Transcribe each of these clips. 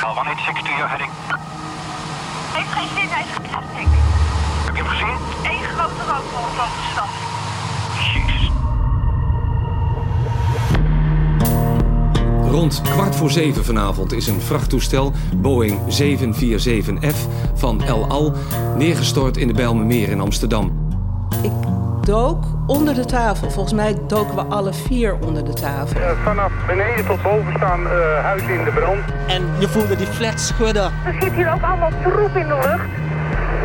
186 to your heading. Heeft geen zin, hij is geplastic. Heb je hem gezien? Eén grote rookbol boven de stad. Jeez. Rond kwart voor zeven vanavond is een vrachttoestel Boeing 747F van El Al neergestort in de Bijlmermeer in Amsterdam. Ik dook onder de tafel. Volgens mij doken we alle vier onder de tafel. Eh, vanaf beneden tot boven staan eh huis in de brand. En je voelde die flat schudden. Er zit hier ook allemaal troep in de lucht.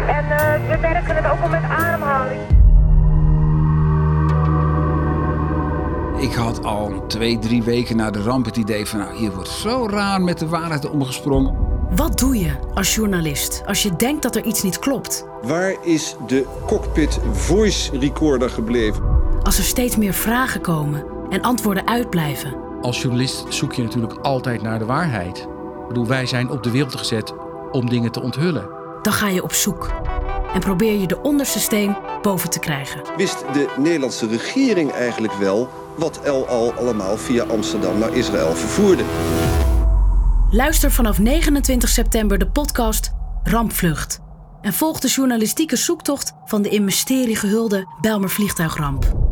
En eh, we merken het ook al met ademhaling. Ik had al twee, drie weken na de ramp het idee van... Nou, hier wordt zo raar met de waarheid omgesprongen. Wat doe je als journalist als je denkt dat er iets niet klopt? Waar is de cockpit voice recorder gebleven? Als er steeds meer vragen komen en antwoorden uitblijven? Als journalist zoek je natuurlijk altijd naar de waarheid. Ik bedoel, wij zijn op de wereld gezet om dingen te onthullen. Dan ga je op zoek en probeer je de onderste steen boven te krijgen. Wist de Nederlandse regering eigenlijk wel wat El Al allemaal via Amsterdam naar Israël vervoerde? Luister vanaf 29 september de podcast Rampvlucht. En volg de journalistieke zoektocht van de in mysterie gehulde Bijlmer vliegtuigramp.